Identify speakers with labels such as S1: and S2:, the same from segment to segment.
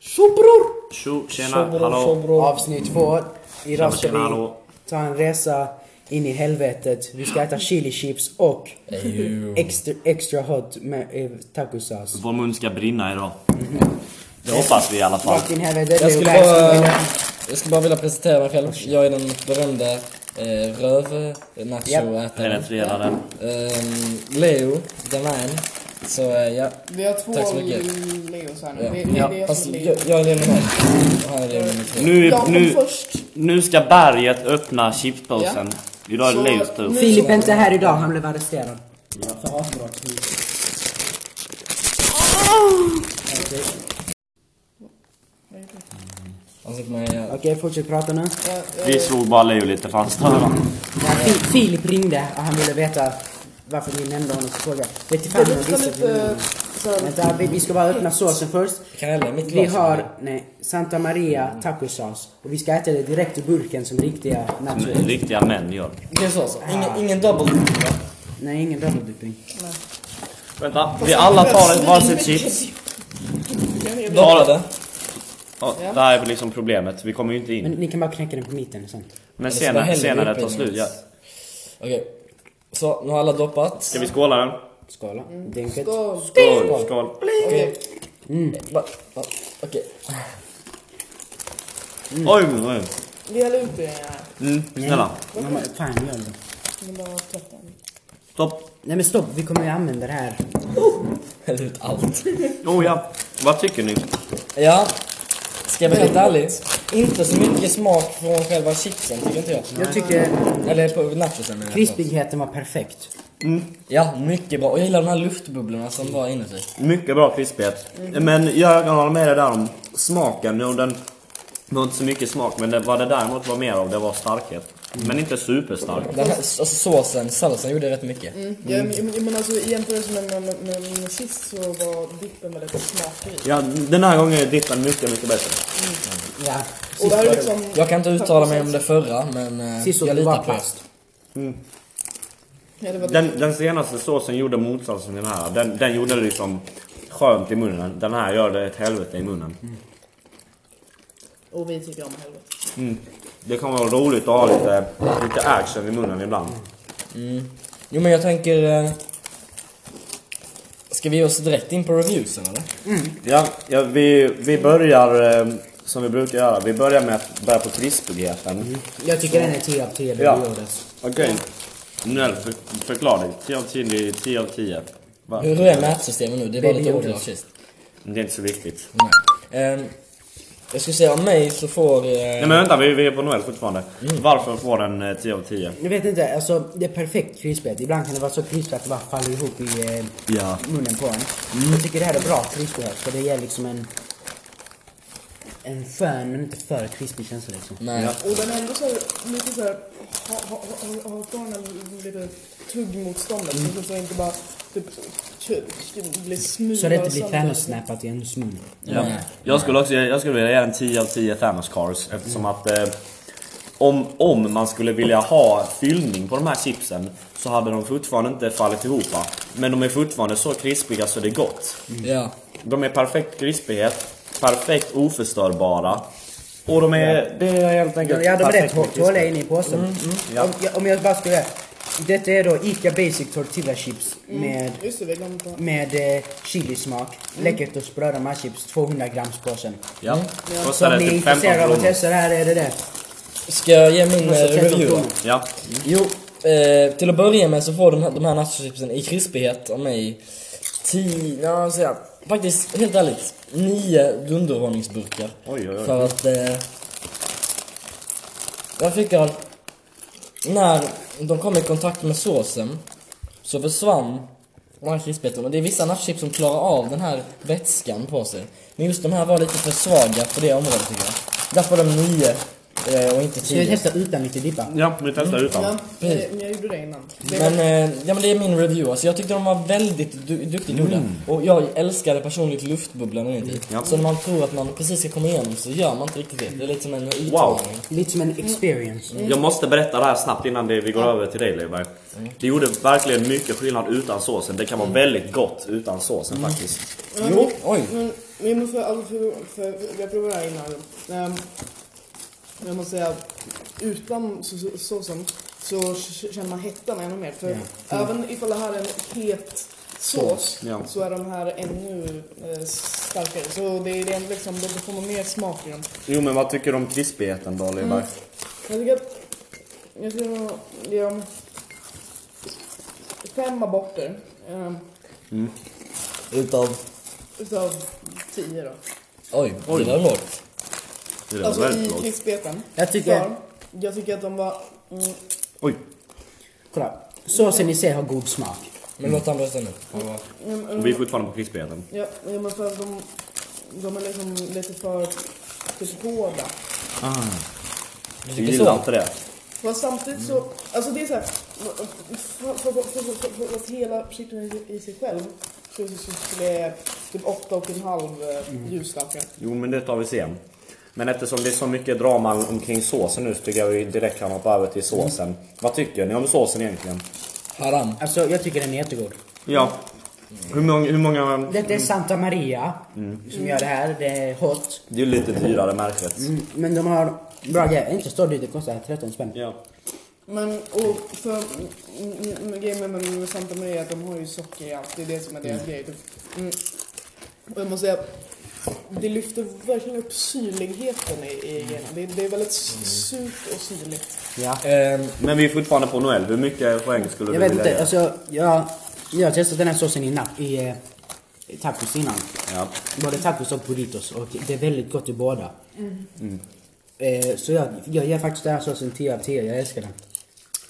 S1: Tjo bror!
S2: Tjo, tjena,
S1: Tjo, bror,
S2: hallå.
S1: tjo, bror.
S3: Avsnitt två.
S2: Tjena,
S3: Idag ska
S2: tjena,
S3: vi
S2: hallå.
S3: ta en resa in i helvetet. Vi ska äta chili chips och extra, extra hot med eh, tacosås.
S2: Vår mun ska brinna idag. Det hoppas vi i alla fall.
S3: Rakt in i helvetet.
S4: Jag
S3: det är
S4: skulle
S3: ju
S4: bara,
S3: världens-
S4: jag skulle bara vilja presentera mig själv. Jag är den berömda eh, röv-nachoätaren.
S2: Penetrerar den.
S4: Ehm, Leo, the man. Så eh, ja.
S5: Vi har två
S4: Tack så mycket.
S5: Leos här nu.
S4: ja.
S5: Det,
S4: ja.
S5: det, det är jag
S4: Fast
S5: som är
S4: jag,
S5: Leo.
S4: jag är Leonel och han är Leonel
S2: Nu,
S5: Jag kom
S2: nu,
S5: först.
S2: nu ska berget öppna chipspåsen. Idag är det
S5: Så-
S2: Leos tur.
S5: nu-
S3: Filip är inte här idag, han blev arresterad. För hatbrott.
S4: Han sitter med ja.
S3: Okej, fortsätt prata nu.
S2: Vi slog bara Leo lite för han stör.
S3: Ja, Fi- Filip ringde och han ville veta varför vi nämnde honom så fråga. Vet du fan
S5: Det
S3: om jag
S5: luktar
S3: visste att vi nämnde
S5: lite
S3: honom.
S4: eh,
S5: såhär...
S3: Vänta, vi, vi ska bara öppna såsen först.
S4: Kan jag hälla i mitt
S3: Vi
S4: glas?
S3: har, nej, Santa Maria tacosås. Och vi ska äta det direkt ur burken som riktiga nacho.
S5: Mm.
S2: Riktiga män gör.
S4: Okej, så, så.
S3: Ah.
S4: Ingen, ingen double dip, va?
S3: Nej, ingen double dipping.
S2: Vänta, vi alla tar ett varsitt chips.
S4: Bara det.
S2: Ja, det här är väl liksom problemet, vi kommer ju inte
S3: Men
S2: in.
S3: ni kan bara knäcka den på mitten och sånt.
S2: Men
S4: ska bara
S2: senare,
S4: hälla
S2: senare
S4: upp i
S2: tar slut. Ja.
S4: Okej. Så, nu har alla doppat.
S2: Ska vi skåla den?
S3: Skåla. Mm. Det är enkelt.
S5: Skål!
S2: Skål, skål.
S5: Okej.
S3: Mm.
S4: Va- va- Okej.
S2: Oj, oj.
S5: Vi häller ut den här.
S2: Mm, snälla.
S3: Ja, men Fan, gör det.
S5: Jag bara tvätta den.
S2: Stopp.
S3: Nej men stopp, vi kommer ju använda det här.
S4: Häll ut allt.
S2: Oh ja. Vad tycker ni?
S4: Ja, ska jag vara helt ärlig. Inte så mycket smak från själva chipsen tycker inte jag.
S3: Jag tycker
S4: Eller på nachosen menar jag.
S3: krispigheten var perfekt.
S4: Ja, mycket bra. Och jag gillar de här luftbubblorna som var inuti.
S2: Mycket bra krispighet. Men jag kan hålla med dig där om smaken. Jo, den var inte så mycket smak, men det, vad det däremot var mer av, det var starkhet. Men inte superstark.
S4: Den här, alltså såsen, salsan gjorde rätt mycket.
S5: Ja, men- men, men alltså i jämförelse med, med, med, med, med sist så var dippen väldigt smakrik.
S2: Ja, den här gången är dippen mycket, mycket bättre.
S3: Ja.
S5: Och det här är liksom...
S4: Jag kan inte uttala mig om det förra, men eh,
S3: Sist
S4: jag
S3: det
S4: litar
S3: var
S4: på er.
S3: plast.
S5: Ja, det var
S2: Den, den senaste såsen gjorde motsatsen till den här. Den, den gjorde det liksom skönt i munnen. Den här gör det ett helvete i munnen.
S5: Och vi tycker om helvete.
S2: Det kan vara roligt att ha lite, lite action i munnen ibland.
S4: Jo men jag tänker... Eh, ska vi ge oss direkt in på reviewsen eller?
S2: Ja, ja vi, vi börjar eh, som vi brukar göra. Vi börjar med att börja på krispigheten.
S3: Jag tycker den är 10 av 10.
S2: Ja.
S3: Ja.
S2: Okej. Nell, för, förklara dig. 10 av 10, 10 av 10. Va?
S3: Mm.
S4: Hur är mätsystemet nu? Det var
S3: Baby
S4: lite
S3: Yoda.
S4: oklart sist.
S2: Det är inte så viktigt.
S4: Nej. Ehm, jag skulle säga om mig så får... eh,
S2: Nej men vänta, vi, vi är på Noel fortfarande.
S3: Mm.
S2: Varför får den eh, 10 av 10?
S3: Jag vet inte, alltså det är perfekt krispigt. Ibland kan det vara så krispigt att det bara faller ihop i eh,
S2: Ja.
S3: munnen på en. Jag tycker det här är bra krispighet för det ger liksom en en skön men inte för krispig känsla liksom.
S4: Nej.
S2: Ja.
S5: Och den är ändå såhär lite såhär... Har ha, ha, ha kvar den här lite tuggmotståndet Liksom så att det inte bara typ k- blir smulare
S3: Så det inte blir
S5: sönder.
S3: Thanos-snappat i hennes mun.
S2: Ja. Jag skulle också jag skulle vilja ge den 10 av 10 Thanos Cars eftersom att eh, om, om man skulle vilja ha fyllning på de här chipsen så hade de fortfarande inte fallit ihop. va? Men de är fortfarande så krispiga så det är gott.
S4: ja.
S2: De är perfekt krispighet, perfekt oförstörbara. Och de är... Det är helt enkelt
S3: Ja, de är rätt
S2: perfekt med
S3: hårda
S2: krispighet.
S3: inne i påsen.
S2: ja.
S3: om, jag, om jag bara skulle... Detta är då Ica Basic Tortilla Chips med,
S5: Just det, vi glömde ta.
S3: med eh, chilismak. Läckert och spröda matchips, 200 grams påsen.
S2: Ja.
S3: Så
S2: Kostar
S3: om
S2: det
S3: ni är
S2: typ 15
S3: intresserade av att
S2: kronor.
S3: testa det här är det det.
S4: Ska jag ge min eh,
S3: Kostar 13
S4: review då?
S3: kronor.
S2: Ja.
S4: Jo, eh, till att börja med så får de här, de här nachochipsen i krispighet av mig 10, ja vad säger jag, faktiskt helt ärligt, 9 dunderhonungsburkar.
S2: Oj, oj, oj.
S4: För att eh, jag tycker att när de kom i kontakt med såsen så försvann den här krispigheten. Och det är vissa nachochips som klarar av den här vätskan på sig. Men just de här var lite för svaga på det området tycker jag. Därför de 9 eh, och inte
S3: Ska jag
S4: 10.
S3: testa utan lite dippa?
S2: Ja, vi testar utan.
S5: Ja, men, men jag gjorde det innan. Det
S4: Men, eh, ja, men det är min review. Alltså, jag tyckte de var väldigt du- duktigt gjorda. Och jag älskade personligt luftbubblan inuti.
S2: Mm. Ja.
S4: Så när man tror att man precis ska komma igenom så gör man inte riktigt det. Det är lite som en utmaning.
S2: Wow.
S3: Lite som en experience.
S2: Jag måste berätta det här snabbt innan det, vi går över till dig Leberg. Det gjorde verkligen
S3: Mm.
S2: mycket skillnad utan såsen. Det kan vara väldigt gott utan såsen faktiskt.
S4: Jo, oj.
S5: Men Men jag måste, alltså för, för, för jag provade det här innan. Ehm, men jag måste säga, utan så- så- såsen så, k- känner man hettan ännu mer. För
S3: Ja.
S5: även ifall det här är en het sås
S2: Sås, ja.
S5: så är de här ännu eh, starkare. Så det är det är liksom, då får man mer smak i dem.
S2: Jo men vad tycker du om krispigheten då
S3: Mm.
S2: Levi?
S5: Jag tycker att, jag skulle nog ge dem fem aborter. ehm,
S4: Utav...
S5: utav tio då.
S4: Oj,
S2: Oj.
S4: det var lågt.
S2: Det där var
S5: Alltså i
S2: väldigt lågt.
S5: krispeten.
S3: Jag tycker-
S5: För Jag tycker att de var... Mm,
S2: Oj!
S3: Kolla. Såsen i sig har god smak.
S4: Men låt han rösta nu.
S5: mm, mm,
S2: Och vi är fortfarande på krispigheten.
S5: Ja, ja, men för att de, de är liksom lite för typ hårda.
S4: Du
S2: Vi
S4: tycker
S2: gillar
S4: så?
S2: inte det.
S5: Fast samtidigt så,
S2: Mm.
S5: alltså det är så här, för, för, för, för, för, för att hela chipen i, i sig själv så, så, så skulle jag typ åtta och en halv eh,
S2: Mm.
S5: ljusstakar.
S2: Jo men det tar vi sen. Men eftersom det är så mycket drama omkring såsen nu så tycker jag vi direkt kan hoppa över till såsen.
S3: Mm.
S2: Vad tycker ni om såsen egentligen? Eh,
S4: Haram.
S3: Alltså jag tycker den är jättegod. Mm.
S2: Ja. Hur många... Hur många
S3: Detta är Santa Maria som gör det här. Det är hot.
S2: det är ju lite dyrare märket.
S3: Mm, men de har bra grejer. Inte så dyrt, det kostar 13 spänn.
S2: Ja.
S5: Men och för mm, mm, grejen med, med Santa Maria är att de har ju socker i allt. Det är det som är deras grej. Typ. Mm. Och jag måste säga, det lyfter verkligen upp syrligheten i, i grejerna. Det, det är väldigt s- surt och syrligt.
S3: Ja.
S4: Ehm,
S2: Men vi är fortfarande på Noel. Hur mycket poäng skulle
S3: Jag
S2: du
S3: vet
S2: vilja
S3: inte,
S2: ge?
S3: alltså jag, jag har testat den här såsen i, nap- i, eh, i tacos innan.
S2: Ja.
S3: Både tacos och burritos och det är väldigt gott i båda. Eh, så jag, jag ger faktiskt den här såsen 10 av 10, jag älskar den.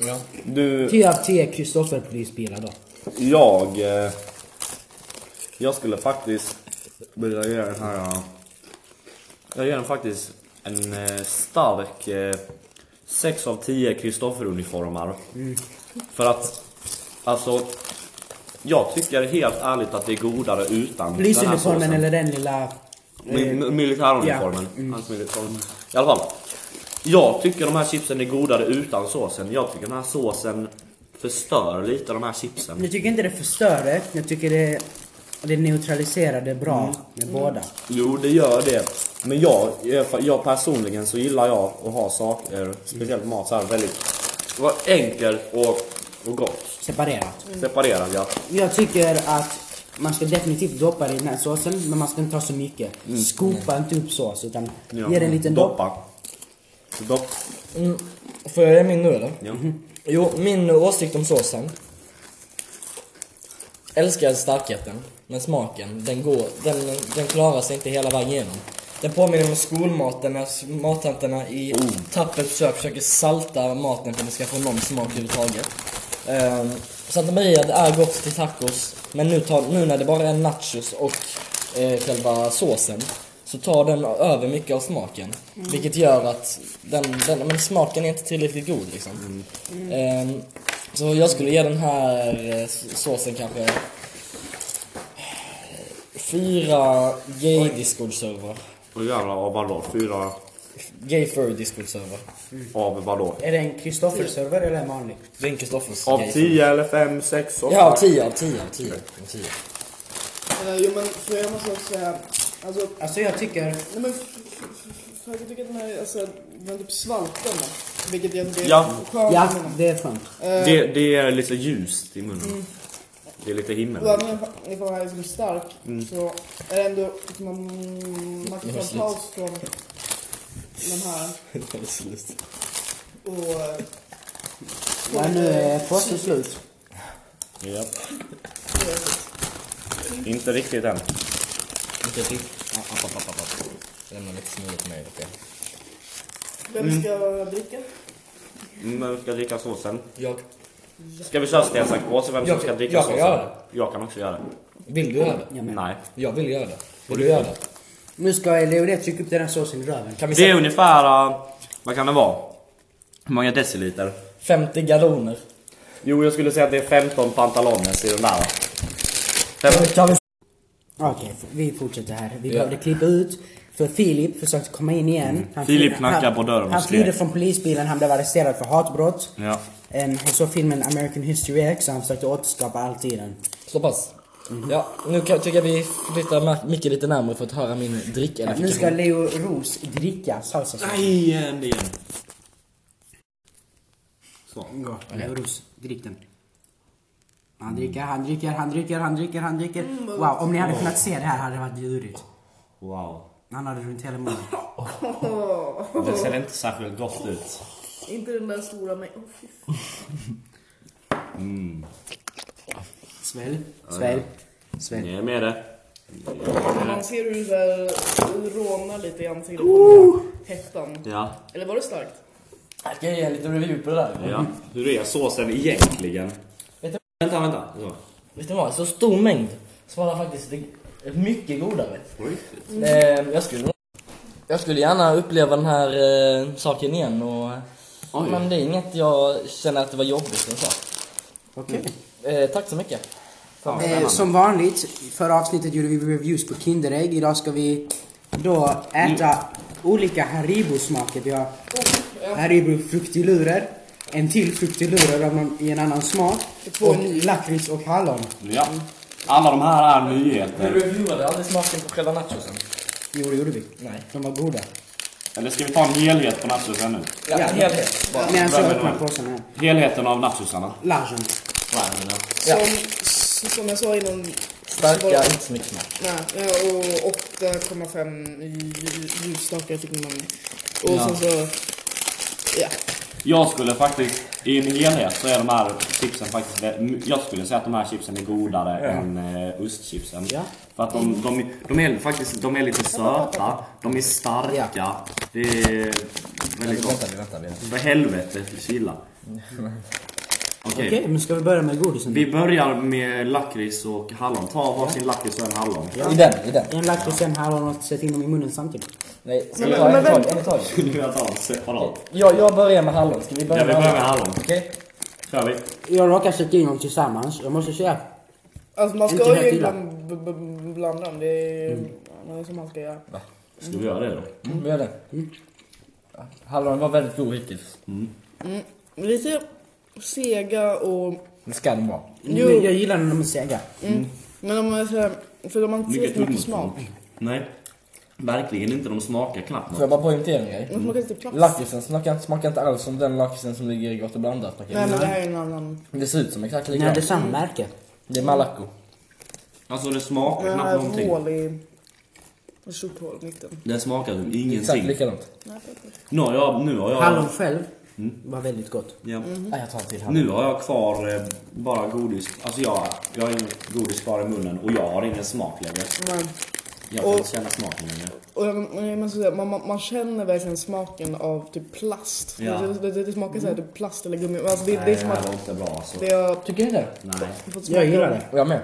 S4: ja.
S2: Du,
S3: 10 av 10 Kristofferprisbilar då.
S2: jag... eh, Jag skulle faktiskt vilja ge den här... ja. Jag ger den faktiskt en eh, stark 6 av 10 Kristoffer-uniformar.
S3: Mm.
S2: För att, alltså... Jag tycker helt ärligt att det är godare utan den här såsen.
S3: Polisuniformen eller den lilla...
S2: Mi- mi- Militäruniformen. Hans militäruniform. I alla fall. Jag tycker de här chipsen är godare utan såsen. Jag tycker den här såsen förstör lite de här chipsen.
S3: Jag tycker inte det förstör det, jag tycker det, det neutraliserar det bra med båda.
S2: Jo, det gör det. Men jag, jag personligen så gillar jag att ha saker, speciellt mat så här väldigt var enkelt och, och gott.
S3: Separerat.
S2: Separerat ja.
S3: Jag tycker att man ska definitivt doppa det i den här såsen, men man ska inte ta så mycket. Skopa inte upp sås, utan
S2: ja.
S3: ge den en liten dopp.
S2: Doppa. Dopp. Mhm.
S4: Mm, får jag ge min nu eller?
S2: Ja.
S4: Jo, min åsikt om såsen. Älskar starkheten, men smaken, den går, den, den klarar sig inte hela vägen igenom. Den påminner om skolmaten när s- mattanterna i tappert försök försöker salta maten för att den ska få någon smak överhuvudtaget. Um, Santa Maria, det är gott till tacos, men nu, tar, nu när det bara är nachos och eh, själva såsen så tar den över mycket av smaken. Vilket gör att den, den, men smaken är inte tillräckligt god liksom.
S2: Mm.
S4: Ehm, så jag skulle ge den här eh, s- såsen kanske fyra gay discord-server.
S2: Och jävlar av vadå? Fyra
S4: Gay furry discord-server.
S2: av vadå?
S3: Är det en Kristoffer-server eller en vanlig?
S4: Det är en Kristoffers
S2: Av tio eller fem, sex, åtta?
S4: Ja, av tio, av tio, av tio. Av tio.
S5: Eh, Jo men för jag måste också säga, alltså,
S3: Alltså jag tycker...
S5: nej men f- f- f- för jag tycker att den här, alltså, den är typ svalten då. Vilket jag tycker är
S2: Ja.
S5: skönt.
S3: Ja, det är skönt.
S2: Det, det är lite ljust i munnen. Det är lite himmel.
S5: Och även om- ifall man är liksom stark
S4: Mm.
S5: så är det ändå, man, man kan ta en paus från den här och... eh,
S3: Ja, nu är påsen slut.
S2: Ja. Inte riktigt än.
S4: Inte riktigt. Ah, app, app, app, app, app. Lämna lite smoothie till mig. vet jag. Mm.
S5: Vem ska dricka?
S2: Mm, Men vi ska dricka såsen.
S4: Jag.
S2: Ska vi köra sten, sax, påse? Vem som
S4: Jag-
S2: ska dricka
S4: jag kan
S2: såsen?
S4: göra det.
S2: Jag kan också göra det.
S4: Vill du göra det?
S2: Nej.
S4: Jag vill göra det. Vill du göra det?
S3: Nu ska Leonet trycka upp den här såsen i röven.
S4: Kan vi
S2: Det är
S4: säga
S2: ungefär... äh, Vad kan det vara? Hur många deciliter?
S4: 50 galloner?
S2: Jo, jag skulle säga att det är 15 pantalones i den där. Fem-
S4: Kan vi
S3: Okej, f- vi fortsätter här. Vi behövde klippa ut. För Filip försökte komma in igen. Han
S2: Mm. Filip
S3: fly-
S2: knackade
S3: han-
S2: på dörren och
S3: Han
S2: skrek.
S3: flydde från polisbilen, han blev arresterad för hatbrott. Ehm,
S2: Ja.
S3: En, och så filmen American History X, och han försökte återskapa allt i den.
S4: Så pass. Ja, nu kan, tycker jag vi flyttar Mac- micken lite närmare för att höra min drick
S3: Ja, nu ska Leo Ros dricka salsa sås.
S2: Nej, en igen. Så.
S3: Ja, Leo Ros, drick den. Han dricker, han dricker, han dricker, han dricker, han dricker. Wow, om ni hade kunnat se det här hade det varit lurigt.
S2: Wow.
S3: Han hade runt hela munnen.
S5: Åh,
S2: Det ser inte särskilt gott ut.
S5: inte den där stora mig. Åh fy fan.
S3: Svälj, svälj, svälj.
S2: Ni är med det.
S5: Man ser hur det så här rodnar lite i ansiktet på hettan.
S2: Ja.
S5: Eller var det starkt?
S4: Jag ska ge en liten review på det där.
S2: ja. Mm. Hur är såsen egentligen?
S4: Vet du-
S2: Vänta, vänta. Så.
S4: Vet du vad? Så stor mängd smakar faktiskt det- mycket godare.
S2: Oj.
S4: Eh, jag, skulle, jag skulle gärna uppleva den här eh, saken igen och...
S2: Oj.
S4: Men det är inget jag känner att det var jobbigt och så.
S3: Okej.
S4: Eh, tack så mycket. Fan,
S3: Eh, som vanligt, förra avsnittet gjorde vi reviews på Kinderägg. Idag ska vi då äta olika Haribo-smaker. Vi har Haribo fruktilurer, en till fruktilurer av en- i en annan smak och lakrits och hallon.
S2: Ja. Alla de här är nyheter.
S4: reviewade aldrig smaken på själva nachosen?
S3: Jo, det gjorde vi.
S4: Nej.
S3: De var goda.
S2: Eller ska vi ta en helhet på nachosen nu?
S4: Ja, en helhet bara.
S3: Medan jag
S2: Vem är
S3: öppnar
S2: det?
S3: påsen här.
S2: Helheten av nachosarna.
S3: Lagen.
S4: Ja.
S5: Som, s- som jag sa innan.
S4: Starka, inte så mycket smak.
S5: Nej, ja, och 8,5 lj- ljusstakar fick man. Och sen så... Ja.
S2: Jag skulle faktiskt, i en helhet så är de här chipsen faktiskt vä- Jag skulle säga att de här chipsen är godare än eh, ostchipsen.
S3: Ja.
S2: För att de, de, de är faktiskt de är lite söta, de är starka. Det är väldigt gott.
S4: vi väntar, vi väntar.
S2: För helvete, chilla. Okej,
S3: Okej, men ska vi börja med godisen?
S2: vi börjar med lakrits och hallon. Ta varsin lakrits och en hallon.
S4: I den, i den.
S3: En lakrits, en hallon och sätt in dem i munnen samtidigt.
S4: Nej, ska
S5: Men-
S4: vi ta en i
S5: men-
S4: taget? En i taget.
S2: Skulle vi ta en separat?
S4: Jag, jag börjar med hallon, ska vi börja
S2: Ja, vi börjar med hallon.
S4: Okej?
S2: Kör vi.
S3: Jag råkar sätta in dem tillsammans. Jag måste säga,
S5: Alltså man
S3: Inte
S5: ska
S3: helt
S5: ju
S3: illa.
S5: ibland b- b- blanda dem. Det är ja, det är som man ska göra.
S2: Ska vi göra det då?
S4: Mm. Vi gör det. Hallon var väldigt god hittills.
S5: Lite sega och...
S4: Det ska den vara.
S5: Jo.
S3: jag gillar när de är sega.
S5: Men om man säger... För de har inte
S2: Mycket
S5: tillräckligt mycket
S2: tuggmotstånd.
S5: smak.
S2: Nej. Verkligen inte, de smakar knappt
S4: Får jag
S2: något.
S4: bara poängtera en grej?
S5: De smakar lite plats.
S4: Lakritsen smakar, smakar inte alls som den lakritsen som ligger i Gott och blandat paketet.
S5: Nej men det här är en annan...
S4: Det ser ut som exakt
S3: Nej, det är
S4: likadant.
S3: samma märke.
S4: Det är Malaco.
S2: Alltså det smakar
S5: Den
S2: knappt
S5: här
S2: någonting.
S5: hål i... Ett stort hål i mitten.
S2: Det smakar typ
S4: Exakt
S2: ingenting.
S4: likadant.
S5: Nej, jag vet inte.
S2: Nu har jag, nu har jag,
S3: Hallon själv var väldigt gott.
S2: ja.
S5: Mm.
S4: Nej, jag tar en till hallon.
S2: nu har jag kvar eh, bara godis. Alltså jag, jag har ingen godis kvar i munnen och jag har ingen smak längre.
S5: Men-
S2: Jag kan
S5: Och-
S2: inte känna smaken längre.
S5: Och jag, jag måste säga, man, man, man känner verkligen smaken av typ plast.
S2: Ja.
S5: Det, det, det, det smakar såhär typ plast eller gummi. Men Alltså det, det
S2: Nej,
S5: är
S2: det
S5: som
S2: här var
S5: att
S2: inte bra alltså.
S5: det har typ
S4: Tycker ni det?
S2: Nej.
S5: fått smaka.
S3: Jag gillar det.
S4: Och jag med.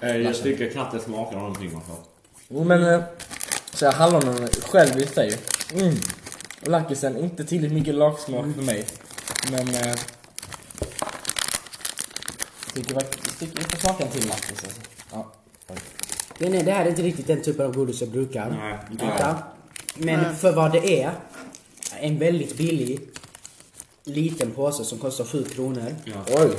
S2: Eh, Jag tycker knappt det smakar någonting alltså.
S4: Jo men, eh, så här, hallonen själv i sig. Mm. Lakritsen, inte tillräckligt mycket lakritsmak för mig. Men... Eh, jag tycker faktiskt, jag tycker inte smaken till lakrits alltså. Ja.
S3: Det, nej, det här är inte riktigt den typen av godis jag brukar.
S2: Nej, inte
S3: äta.
S2: jag.
S3: Men för vad det är, en väldigt billig liten påse som kostar 7 kronor.
S4: Oj!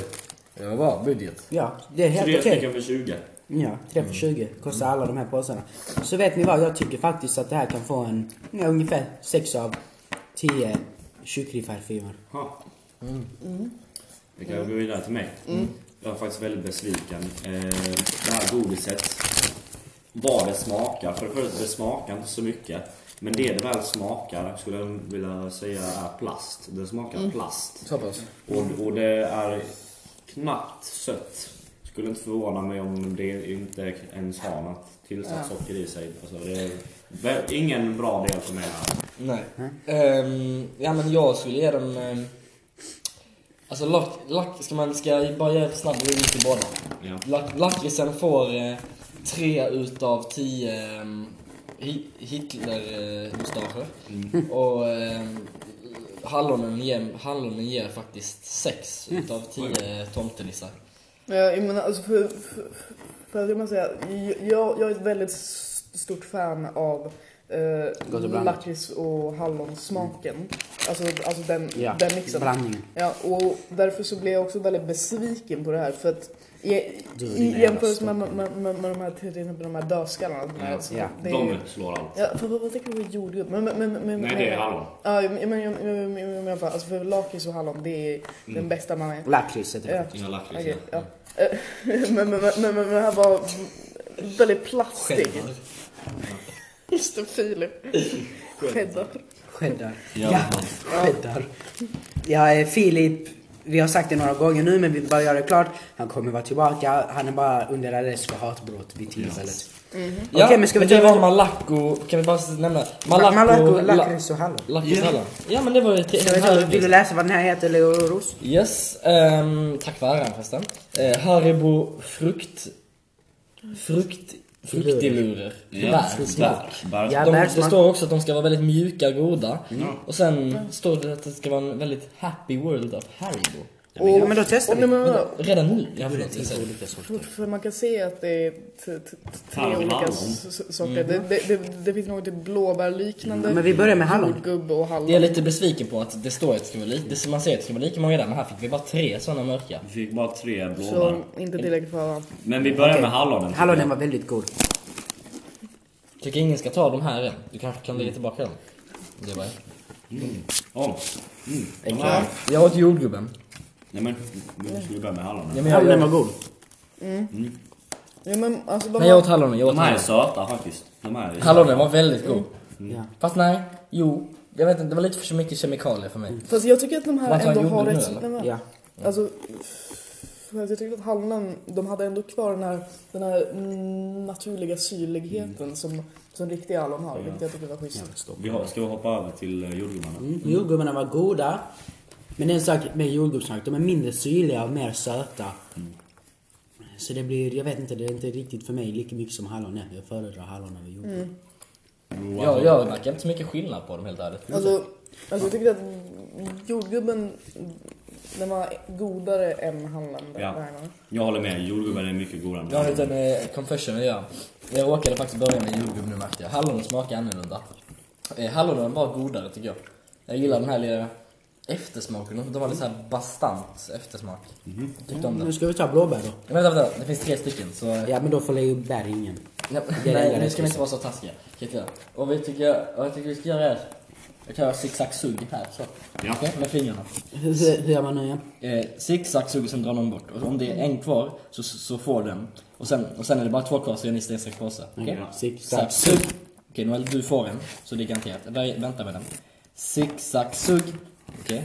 S4: Det var budget.
S3: Ja, det är helt
S2: Tre
S3: okej.
S2: stycken för 20.
S3: Ja, 3 för 20 kostar alla de här påsarna. Så vet ni vad, jag tycker faktiskt att det här kan få en, ja, ungefär 6 av 10 tjurkrypparfilmer.
S2: Ha.
S3: Mm.
S5: Mm.
S2: Vi kan gå vidare till mig. Jag är faktiskt väldigt besviken. Eh, det här godiset, vad det smakar. För det första, det smakar inte så mycket. Men det det väl smakar, skulle jag vilja säga, är plast. Det smakar
S5: Mm.
S2: plast.
S4: Så pass.
S2: Och, och det är knappt sött. Skulle inte förvåna mig om det inte ens har något tillsatt socker i sig. Alltså, det är vä- ingen bra del för mig här.
S4: Nej. Ehm, ja men jag skulle ge dem... ehm, alltså lack, lack, ska man, ska jag bara göra en snabb review till båda?
S2: Ja.
S4: Lack, lackritsen får eh, tre utav tio ehm, Hi- Hitler-mustascher.
S3: Mm.
S4: Och ehm, hallonen, ger, hallonen ger faktiskt sex utav tio tomtenissar.
S5: Jag menar alltså för, för, för att man säga, jag, jag är ett väldigt s- stort fan av
S3: Gott och
S5: eh,
S3: blandat.
S5: lakrits och hallonsmaken. Alltså, alltså den, den mixen.
S3: blandningen.
S5: Ja, och därför så blev jag också väldigt besviken på det här för att I,
S3: Du är
S5: i
S3: din
S5: jämförelse med,
S3: jävla
S5: med, med, med, med de här till exempel de här dödskallarna. som är- som-
S3: Ja,
S5: det är ju-
S2: De slår allt.
S5: Ja, för, vad, vad tänker du på jordgubb? Men, men, men, men,
S2: Nej, det är hallon.
S5: Ja, men jag menar, jag menar, alltså för lakrits och hallon, det är
S2: Mm.
S5: den bästa man är.
S3: Lakrits heter
S5: Ja,
S3: det.
S2: Inga lakrits.
S5: okej, ja. Eh, men, men, men, men, men det här var väldigt plastig.
S4: Cheddar.
S5: Just det, Filip. Cheddar.
S3: Cheddar.
S2: Ja.
S3: Ja, cheddar. Ja, eh, Filip. Vi har sagt det några gånger nu men vi bara gör det klart. Han kommer vara tillbaka. Han är bara under arrest för hatbrott vid tillfället. Okej men ska vi
S4: det var
S3: ta...
S4: Malaco, kan vi bara nämna?
S3: Malaco,
S4: Malaco, la-
S3: lakrits och hallon.
S4: Lakrits och hallon. Ja men det var ju tre-
S3: Ska vi
S4: en
S3: ta,
S4: härlig
S3: vill du
S4: lista.
S3: läsa vad den här heter Leoros?
S4: Yes, ehm, tack för äran förresten. Eh, Haribo frukt... Frukt... Fruktilurer.
S2: Ja,
S4: Bär.
S2: Bär.
S3: Ja.
S4: De, det
S3: bärsmak.
S4: står också att de ska vara väldigt mjuka och goda. Och sen står det att det ska vara en väldigt happy world of Haribo.
S5: Och,
S3: Ja men då testar
S5: och, nej,
S3: vi.
S5: men, men,
S4: Redan nu? Ja, förlåt. jag säger-
S5: för man kan se att det är t- t- tre
S2: Hallon,
S5: olika
S2: hallon.
S5: s- s- sorter. Det, det, det, det finns något typ blåbärliknande.
S3: Men vi börjar med hallon.
S5: Jordgubb och hallon.
S4: Jag är lite besviken på att det står att det ska vara lika, det- man ser att det ska vara lika många där, men här fick vi bara tre sådana mörka.
S2: Vi fick bara tre blåbär.
S5: Så inte tillräckligt för varandra.
S2: Men vi börjar med hallonen. tycker
S3: Hallonen
S2: jag.
S3: var väldigt god.
S4: Tycker ingen ska ta de här än. Du kanske kan lägga tillbaka dem. Det var jag.
S2: Åh. Mm. De här.
S4: Jag åt jordgubben.
S2: Nej men, vi skulle börja med hallonen.
S4: Ja, men jag,
S3: Hallonen
S4: jag,
S3: var god.
S5: Ja, men, alltså, de
S4: nej, jag åt hallonen. Jag åt
S2: De här är
S4: hallonen.
S2: söta faktiskt. De här är
S4: hallonen var väldigt god.
S3: Ja.
S4: Fast nej, jo. Jag vet inte, det var lite för så mycket kemikalier för mig.
S5: Fast jag tycker att de
S4: Man
S5: här
S4: tar
S5: ändå har
S4: jordgubb nu,
S5: rätt...
S4: eller?
S5: Nej, men-
S3: Ja.
S5: Alltså, för att jag tyckte att hallonen, de hade ändå kvar den här, den här mm, naturliga syrligheten som, som riktiga hallon har, vilket jag tyckte var schysst.
S2: Vi har, ska vi hoppa över till eh, jordgubbarna?
S3: Mm. Jordgubbarna var goda. Men en sak med jordgubbssnack, de är mindre syrliga och mer söta. Så det blir, jag vet inte, det är inte riktigt för mig lika mycket som hallon är. Jag föredrar hallon över jordgubb.
S4: Jag, jag märker inte så mycket skillnad på dem helt ärligt.
S5: Alltså, alltså jag tyckte att jordgubben, den var godare än hallonen den
S2: Ja.
S5: här gången.
S2: Jag håller med, jordgubbar är mycket godare än
S4: Jag har en
S2: hallonen.
S4: liten eh, confession att göra. Jag råkade faktiskt börja med jordgubb nu märkte jag. Hallonen smakar annorlunda. Eh, Hallonen var godare tycker jag. Jag gillar den här lilla eftersmaken. De var lite såhär bastant eftersmak. Tyckte om
S3: Nu
S4: den.
S3: ska vi ta blåbär då.
S4: Men vänta, vänta. Det finns tre stycken så...
S3: Ja men då får Leoberg ingen.
S4: Ja,
S3: det är
S4: nej,
S3: det
S4: nu ska vi
S3: rättvisa.
S4: inte vara så taskiga. Tycker jag. Och vi tycker, vad jag tycker vi ska göra är... Jag kan göra zigzag-sug här så.
S2: Ja.
S4: Okej, med fingrarna.
S3: Hur, hur, hur gör man nu igen?
S4: Eh, zigzag suger, sen drar någon bort. Och om det är en kvar så, så, så får den. Och sen, och sen är det bara två kvar så är ni sten, sax, påse. Okej?
S3: Ja, zigzag,
S4: Zag, sug. Okej, Noel, du får en. Så det är garanterat. Jag börjar- vänta med den. Zigzag, sug. Okej.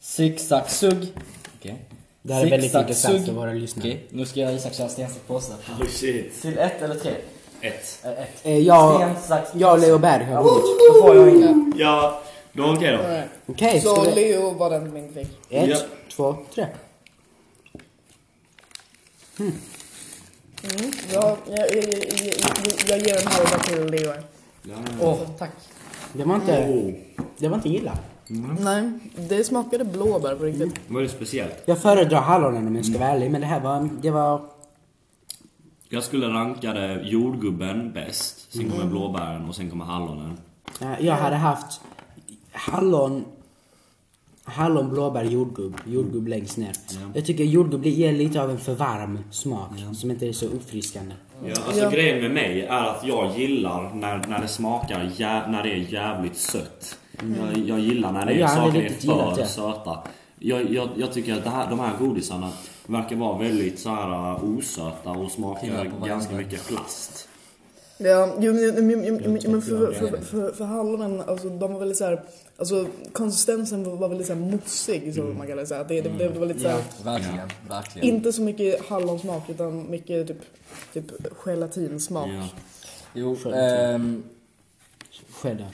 S4: Zigzag, sug. Okej.
S3: Det här är väldigt
S4: Zigzag,
S3: intressant
S4: sug.
S3: för våra lyssnare.
S4: Okej, nu ska jag Isak köra sten, sax, påse.
S2: Oh shit.
S4: Till ett eller tre?
S2: Ett.
S4: Eh, ett.
S3: Eh, jag,
S4: Sten, sax,
S3: jag och Leoberg har bord.
S4: Då får jag inga.
S2: Ja, då okej då.
S5: Alright.
S3: Okej, ska
S5: Så
S3: vi...
S5: Leo var den som inte fick.
S3: Ett,
S2: Ja.
S3: två, tre.
S5: Ja, jag, jag, jag, jag, jag ger en halva till Leo.
S4: Åh, tack.
S3: Det var inte,
S2: Oh.
S3: det var inte illa.
S2: Mm.
S5: Nej, det smakade blåbär på riktigt.
S2: Vad är det speciellt?
S3: Jag föredrar hallonen om jag ska vara ärlig, men det här var, det var...
S2: Jag skulle ranka det jordgubben bäst, sen kommer blåbären och sen kommer hallonen.
S3: Eh, Jag hade haft hallon, hallon, blåbär, jordgubb. Jordgubb längst ner. Jag tycker jordgubb ger lite av en för varm smak som inte är så uppfriskande.
S2: Ja, alltså
S5: Ja.
S2: grejen med mig är att jag gillar när, när det smakar, jä, när det är jävligt sött. Jag, jag gillar när det är
S3: Jag hade
S2: saker är
S3: riktigt gillat
S2: för
S3: det.
S2: söta. Jag, jag, jag tycker att det här, de här godisarna verkar vara väldigt så här uh, osöta och
S4: Pillar på
S2: smakar
S4: varandra.
S2: ganska mycket plast.
S5: Ja, jo, men- men- men- men- men men för, för, för, för hallonen, alltså de var väldigt såhär, alltså konsistensen var- var väldigt såhär mossig, så
S2: Mm.
S5: man kan säga. Det, det, det var lite såhär,
S4: Ja, verkligen. Verkligen.
S5: inte så mycket hallonsmak utan mycket typ, typ gelatinsmak.
S2: Ja,
S4: Jo, ehm...
S3: Cheddar.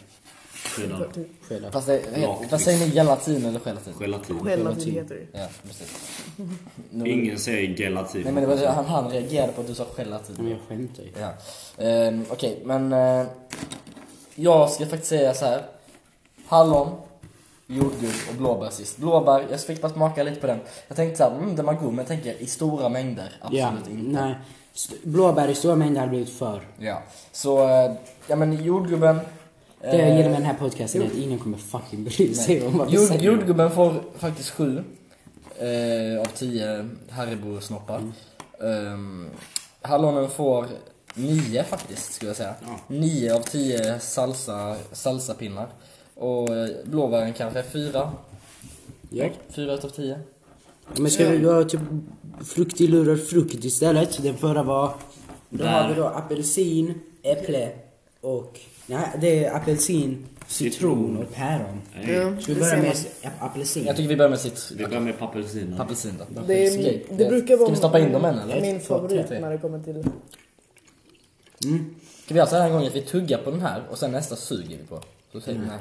S2: sedan
S5: Typ,
S3: Cheddar.
S4: Fast det,
S2: Ja,
S4: vad säger ni? Gelatin eller gelatin?
S2: gelatin.
S5: Gelatin heter det.
S4: Ja, precis.
S2: Ingen säger gelatin.
S4: Nej men det var, han, han reagerade på att du sa gelatin.
S3: Men jag skämtar ju.
S4: Ja. Ehm, Okej, men eh, jag ska faktiskt säga så här. Hallon, jordgubb och blåbär sist. Blåbär, jag fick bara smaka lite på den. Jag tänkte så här, mm, den var god, men jag tänker i stora mängder,
S3: Ja,
S4: absolut inte.
S3: nej. S- Blåbär i stora mängder hade blivit för.
S4: Ja, så eh, ja men jordgubben. eh,
S3: Det jag gillar med den här podcasten är att ingen kommer fucking bry sig om vad vi
S4: Jord,
S3: säger.
S4: jordgubben får faktiskt sju eh, av tio Haribo-snoppar.
S5: Mm.
S4: Ehm, hallonen får 9 faktiskt, skulle jag säga. 9 av 10 salsa, salsapinnar. Och eh, blåbären kanske 4.
S3: Ja.
S4: 4 utav 10.
S3: Men ska vi ha typ frukt i lurar frukt istället? Den förra var... Då har vi då apelsin, äpple och... Nej, det är apelsin, citron och päron. Ska vi börja med ap- apelsin?
S4: Jag tycker vi börjar med sitt
S2: Vi börjar med papelsinen.
S4: apelsin då.
S5: Det, är,
S4: Okej.
S5: det brukar vara
S4: Ska vi stoppa in dem än eller?
S5: min
S4: Ett, två, tre,
S5: favorit
S4: tre.
S5: när det kommer till...
S4: Ska vi alltså den här gången att vi tuggar på den här och sen nästa suger vi på? Så säger vi nej.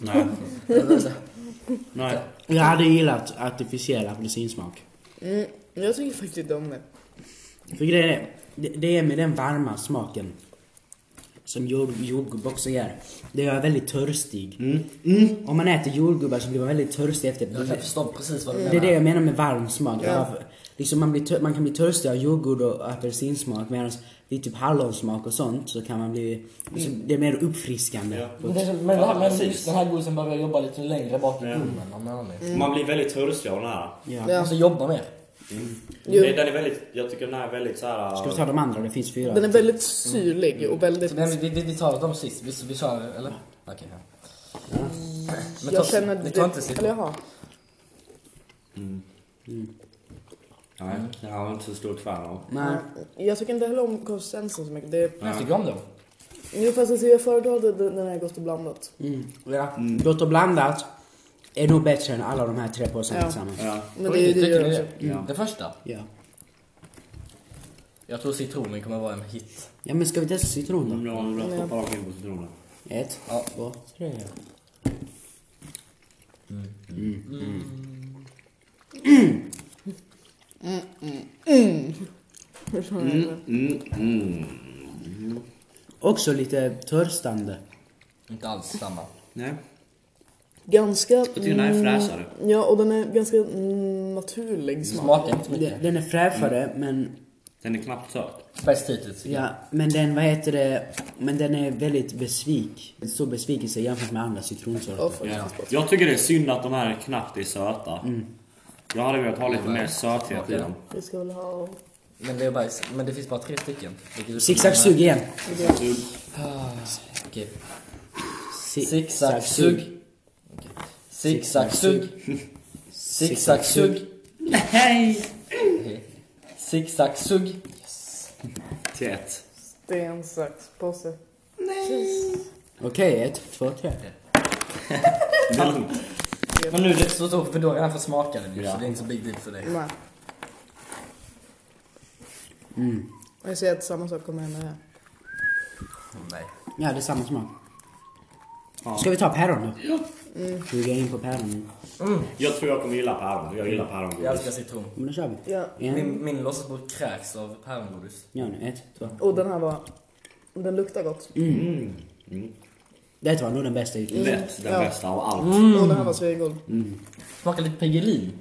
S2: Nej. Nej.
S3: Jag hade gillat artificiell apelsinsmak.
S5: Mm, jag tycker faktiskt inte om det.
S3: För grejen är, det, det är med den varma smaken som jord, jordgubb också gör. Det gör en väldigt törstig. Om man äter jordgubbar så blir man väldigt törstig efter
S4: Mm. Jag
S5: Mm.
S4: kan förstå precis vad du
S3: Det är
S4: menar.
S3: det jag menar med varm smak.
S5: Ja.
S3: Av, liksom man, blir tör, man kan bli törstig av jordgubb och apelsinsmak medan vid typ hallonsmak och sånt så kan man bli... Alltså,
S5: Mm.
S3: det är mer uppfriskande.
S4: Men, det, men, det här, men just den här godisen börjar jobba lite längre bak i gummen om jag har mig.
S2: Man blir väldigt törstig av den här.
S3: Ja.
S5: Ja.
S4: Alltså jobba mer.
S5: Jo.
S2: Det- Den är väldigt, jag tycker den här är väldigt så här. uh,
S3: Ska vi ta de andra? Det finns fyra.
S5: Den är väldigt syrlig och väldigt...
S4: Men vi, vi, vi tar dem sist, vi, vi kör eller? Okej. ja. Men
S5: Mm. Jag
S4: ta-
S5: känner...
S4: vi
S5: det-
S4: tar inte sitt.
S5: Eller jaha.
S2: Nej, jag är inte så stort fan av.
S3: Nej.
S5: Mm, Jag tycker inte heller om konsistensen så mycket. Det,
S4: Jag tycker om dem.
S5: jo fast alltså, jag föredrar det- det- den här Gott och blandat.
S3: Mm. Ja. Gott och blandat är nog bättre än alla de här tre påsarna
S5: Ja.
S3: tillsammans.
S2: Ja.
S5: Men det
S4: Oj,
S5: är det
S4: tycker
S5: gör
S4: ni
S5: också.
S4: det? Det första.
S3: Ja.
S4: Jag tror citronen kommer vara en hit.
S3: ja, men ska vi testa citron
S5: Mm.
S3: då?
S2: Bra, nu har jag stoppat in på citronen.
S3: Ett,
S4: Ja.
S3: två, tre. Också lite törstande.
S4: Inte alls samma.
S2: Nej.
S5: Ganska... mm,
S2: Jag tycker den här är fräschare.
S5: Ja, och den är ganska mm, naturlig smak.
S4: Smakar inte så
S3: De-
S4: mycket.
S3: Den är fräschare
S5: Mm.
S3: men,
S2: Den är knappt söt.
S4: Bäst hittills. tycker jag.
S3: ja, men den, vad heter det, men den är väldigt besvik. En stor besvikelse jämfört med andra citronsorter.
S5: Ja, faktiskt.
S2: Ja. Jag tycker det är synd att de här knappt är söta. Jag hade velat ha lite mer söthet i dem.
S5: Vi ska väl ha...
S4: Men det är bajs. Men det finns bara tre stycken. vilket är-
S3: Zigzag-sug igen.
S4: Okej.
S3: Si-
S4: Zigzag-sug. Zigzag-sug. Zigzag-sug.
S2: Hej!
S4: Zigzag-sug.
S2: Till ett.
S5: Sten, sax, påse.
S3: Okej, ett, två, tre.
S2: Det är lugnt.
S4: Men nu är det inte så stor för då har jag redan fått smaka den ju,
S2: Ja.
S4: så det är inte så big deal för dig.
S5: Nej. Jag ser att samma sak kommer hända här.
S4: Nej.
S3: Ja, det är samma smak. Ska vi ta päron nu? Mm. Vi går in på päron nu.
S2: Jag tror jag kommer gilla päron. Jag gillar pärongodis.
S4: Jag älskar citron.
S3: Men då kör vi.
S5: Ja.
S3: En,
S4: Min, min låtsasburk kräks av pärongodis.
S3: ja, nu, ett, två.
S5: Och den här var... Den luktar gott.
S3: Det var nog den bästa hittills.
S2: Lätt den
S5: Ja. Mm.
S2: bästa av allt.
S5: Och den här var svingod.
S4: Smakar lite Piggelin.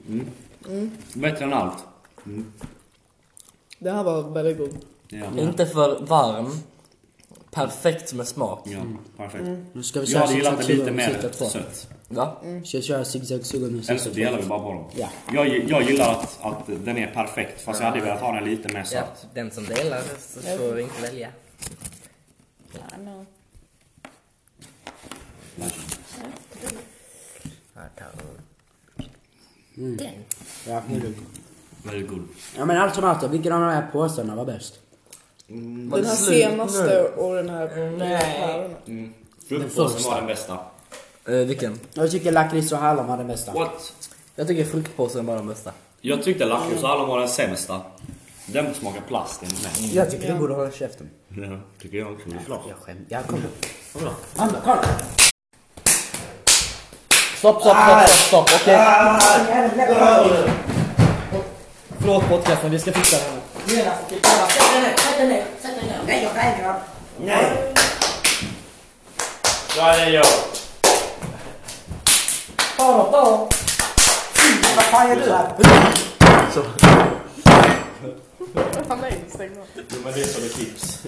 S2: Bättre än allt.
S5: Den här var väldigt god.
S2: Ja,
S4: Inte för varm. Perfekt med smak.
S2: ja perfekt.
S3: Nu ska vi
S2: Jag
S3: köra
S2: hade gillat
S3: zigzag-sug
S2: den lite
S3: och
S2: mer
S3: sitta två.
S2: sött.
S4: Va?
S5: Mm.
S3: Ska jag köra zigzag-sug och
S2: Eller så
S3: musik?
S2: delar vi bara på dem.
S3: Ja.
S2: Jag, jag gillar att, att den är perfekt fast jag hade velat ha den lite mer
S4: Ja,
S2: söt.
S4: den som delar så får inte välja. Här tar
S3: Ja, helt
S2: Väldigt god.
S3: Ja, men allt som allt då. Vilken av de här påsarna var bäst?
S4: du. Var det
S5: Den här
S4: slut
S5: senaste och den här...
S4: Nej.
S2: Fruktpåsen
S3: första.
S2: var den bästa.
S4: nu? Eh, vilken?
S3: Jag tycker lakrits och hallon var den bästa.
S2: What?
S4: Jag tycker fruktpåsen var den bästa.
S2: Jag tyckte lakrits och hallon var den sämsta. Den smakar plast enligt mig.
S3: Jag tycker du borde hålla käften.
S2: Ja, tycker jag också.
S3: Jag skämtar. Jag kommer.
S2: Vadå?
S3: Anna, kolla!
S4: Stopp, stopp, stopp, stopp, stopp. okej.
S3: Ah!
S4: Förlåt podcasten, vi ska fixa det här nu.
S2: Ja, det är jag.
S5: Nej, stäng av.
S2: Jo, men det är som ett tips.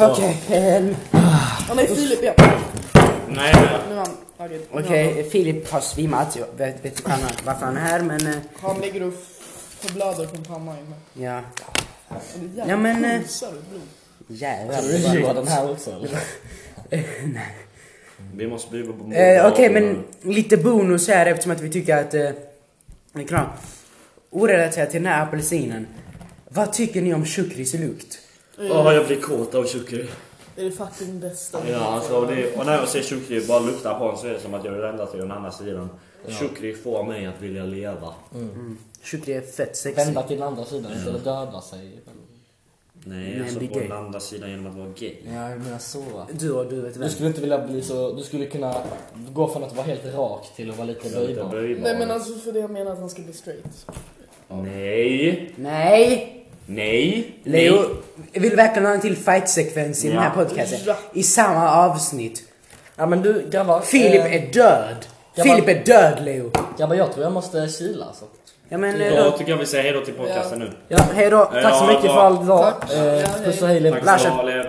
S3: Okej, eh,
S5: Ja, nej, Filip ja.
S2: Nej, nej.
S5: Nu är han... Okej.
S3: okej. Filip har svimmat. Jag vet vet inte vad han- varför han är här, men... eh,
S5: Han ligger och f- choklader från pannan inne.
S3: Ja.
S5: Och det är
S3: Ja, men, eh,
S5: jävligt pulsar ut blod.
S3: Jävlar.
S4: Tror du det var den här också eller?
S2: Vi måste bjuda på
S3: Eh, Okej, men lite bonus här eftersom att vi tycker att... Eh, det är klart. Orelaterat till den här apelsinen. Vad tycker ni om chukris lukt?
S2: Åh, jag blir kåt av Shukri.
S5: Det är det fucking bästa.
S2: Ja, alltså, det, och när jag ser Shukri bara lukta på honom så är det som att jag vill vända till den andra sidan. Shukri får mig att vilja leva.
S3: Chukri är fett sexigt.
S4: Vända till den andra sidan istället döda sig.
S2: Nej,
S3: Men
S2: alltså
S3: bli
S2: på
S3: gay.
S2: den andra sidan genom att vara gay.
S4: Ja, jag menar så va.
S3: Du och du vet
S4: Du
S3: vem.
S4: skulle inte vilja bli så, du skulle kunna gå från att vara helt rak till att vara lite
S2: Jag är lite
S4: böjbar.
S2: böjbar.
S5: Nej men alltså för det jag menar att han ska bli straight.
S2: Nej!
S3: Nej!
S2: Nej!
S3: Leo,
S2: Nej.
S3: jag vill verkligen ha en till fight-sekvens i den här
S2: Ja.
S3: podcasten.
S5: Ja.
S3: I samma avsnitt.
S4: Ja men du grabbar.
S3: Filip
S4: eh,
S3: är död!
S4: jag
S3: Filip
S4: bara-
S3: är död, Leo!
S4: Grabbar jag tror jag måste kila alltså.
S3: Ja men... eh,
S2: Då
S3: Då,
S2: tycker jag vi säger hejdå till podcasten nu.
S3: ja, hejdå.
S4: Tack så
S2: Ja,
S4: mycket
S2: bra.
S4: för all idag.
S5: Tack.
S4: Eh,
S5: Ja, hej.
S4: Puss och hej Linda.
S2: Tack så mycket.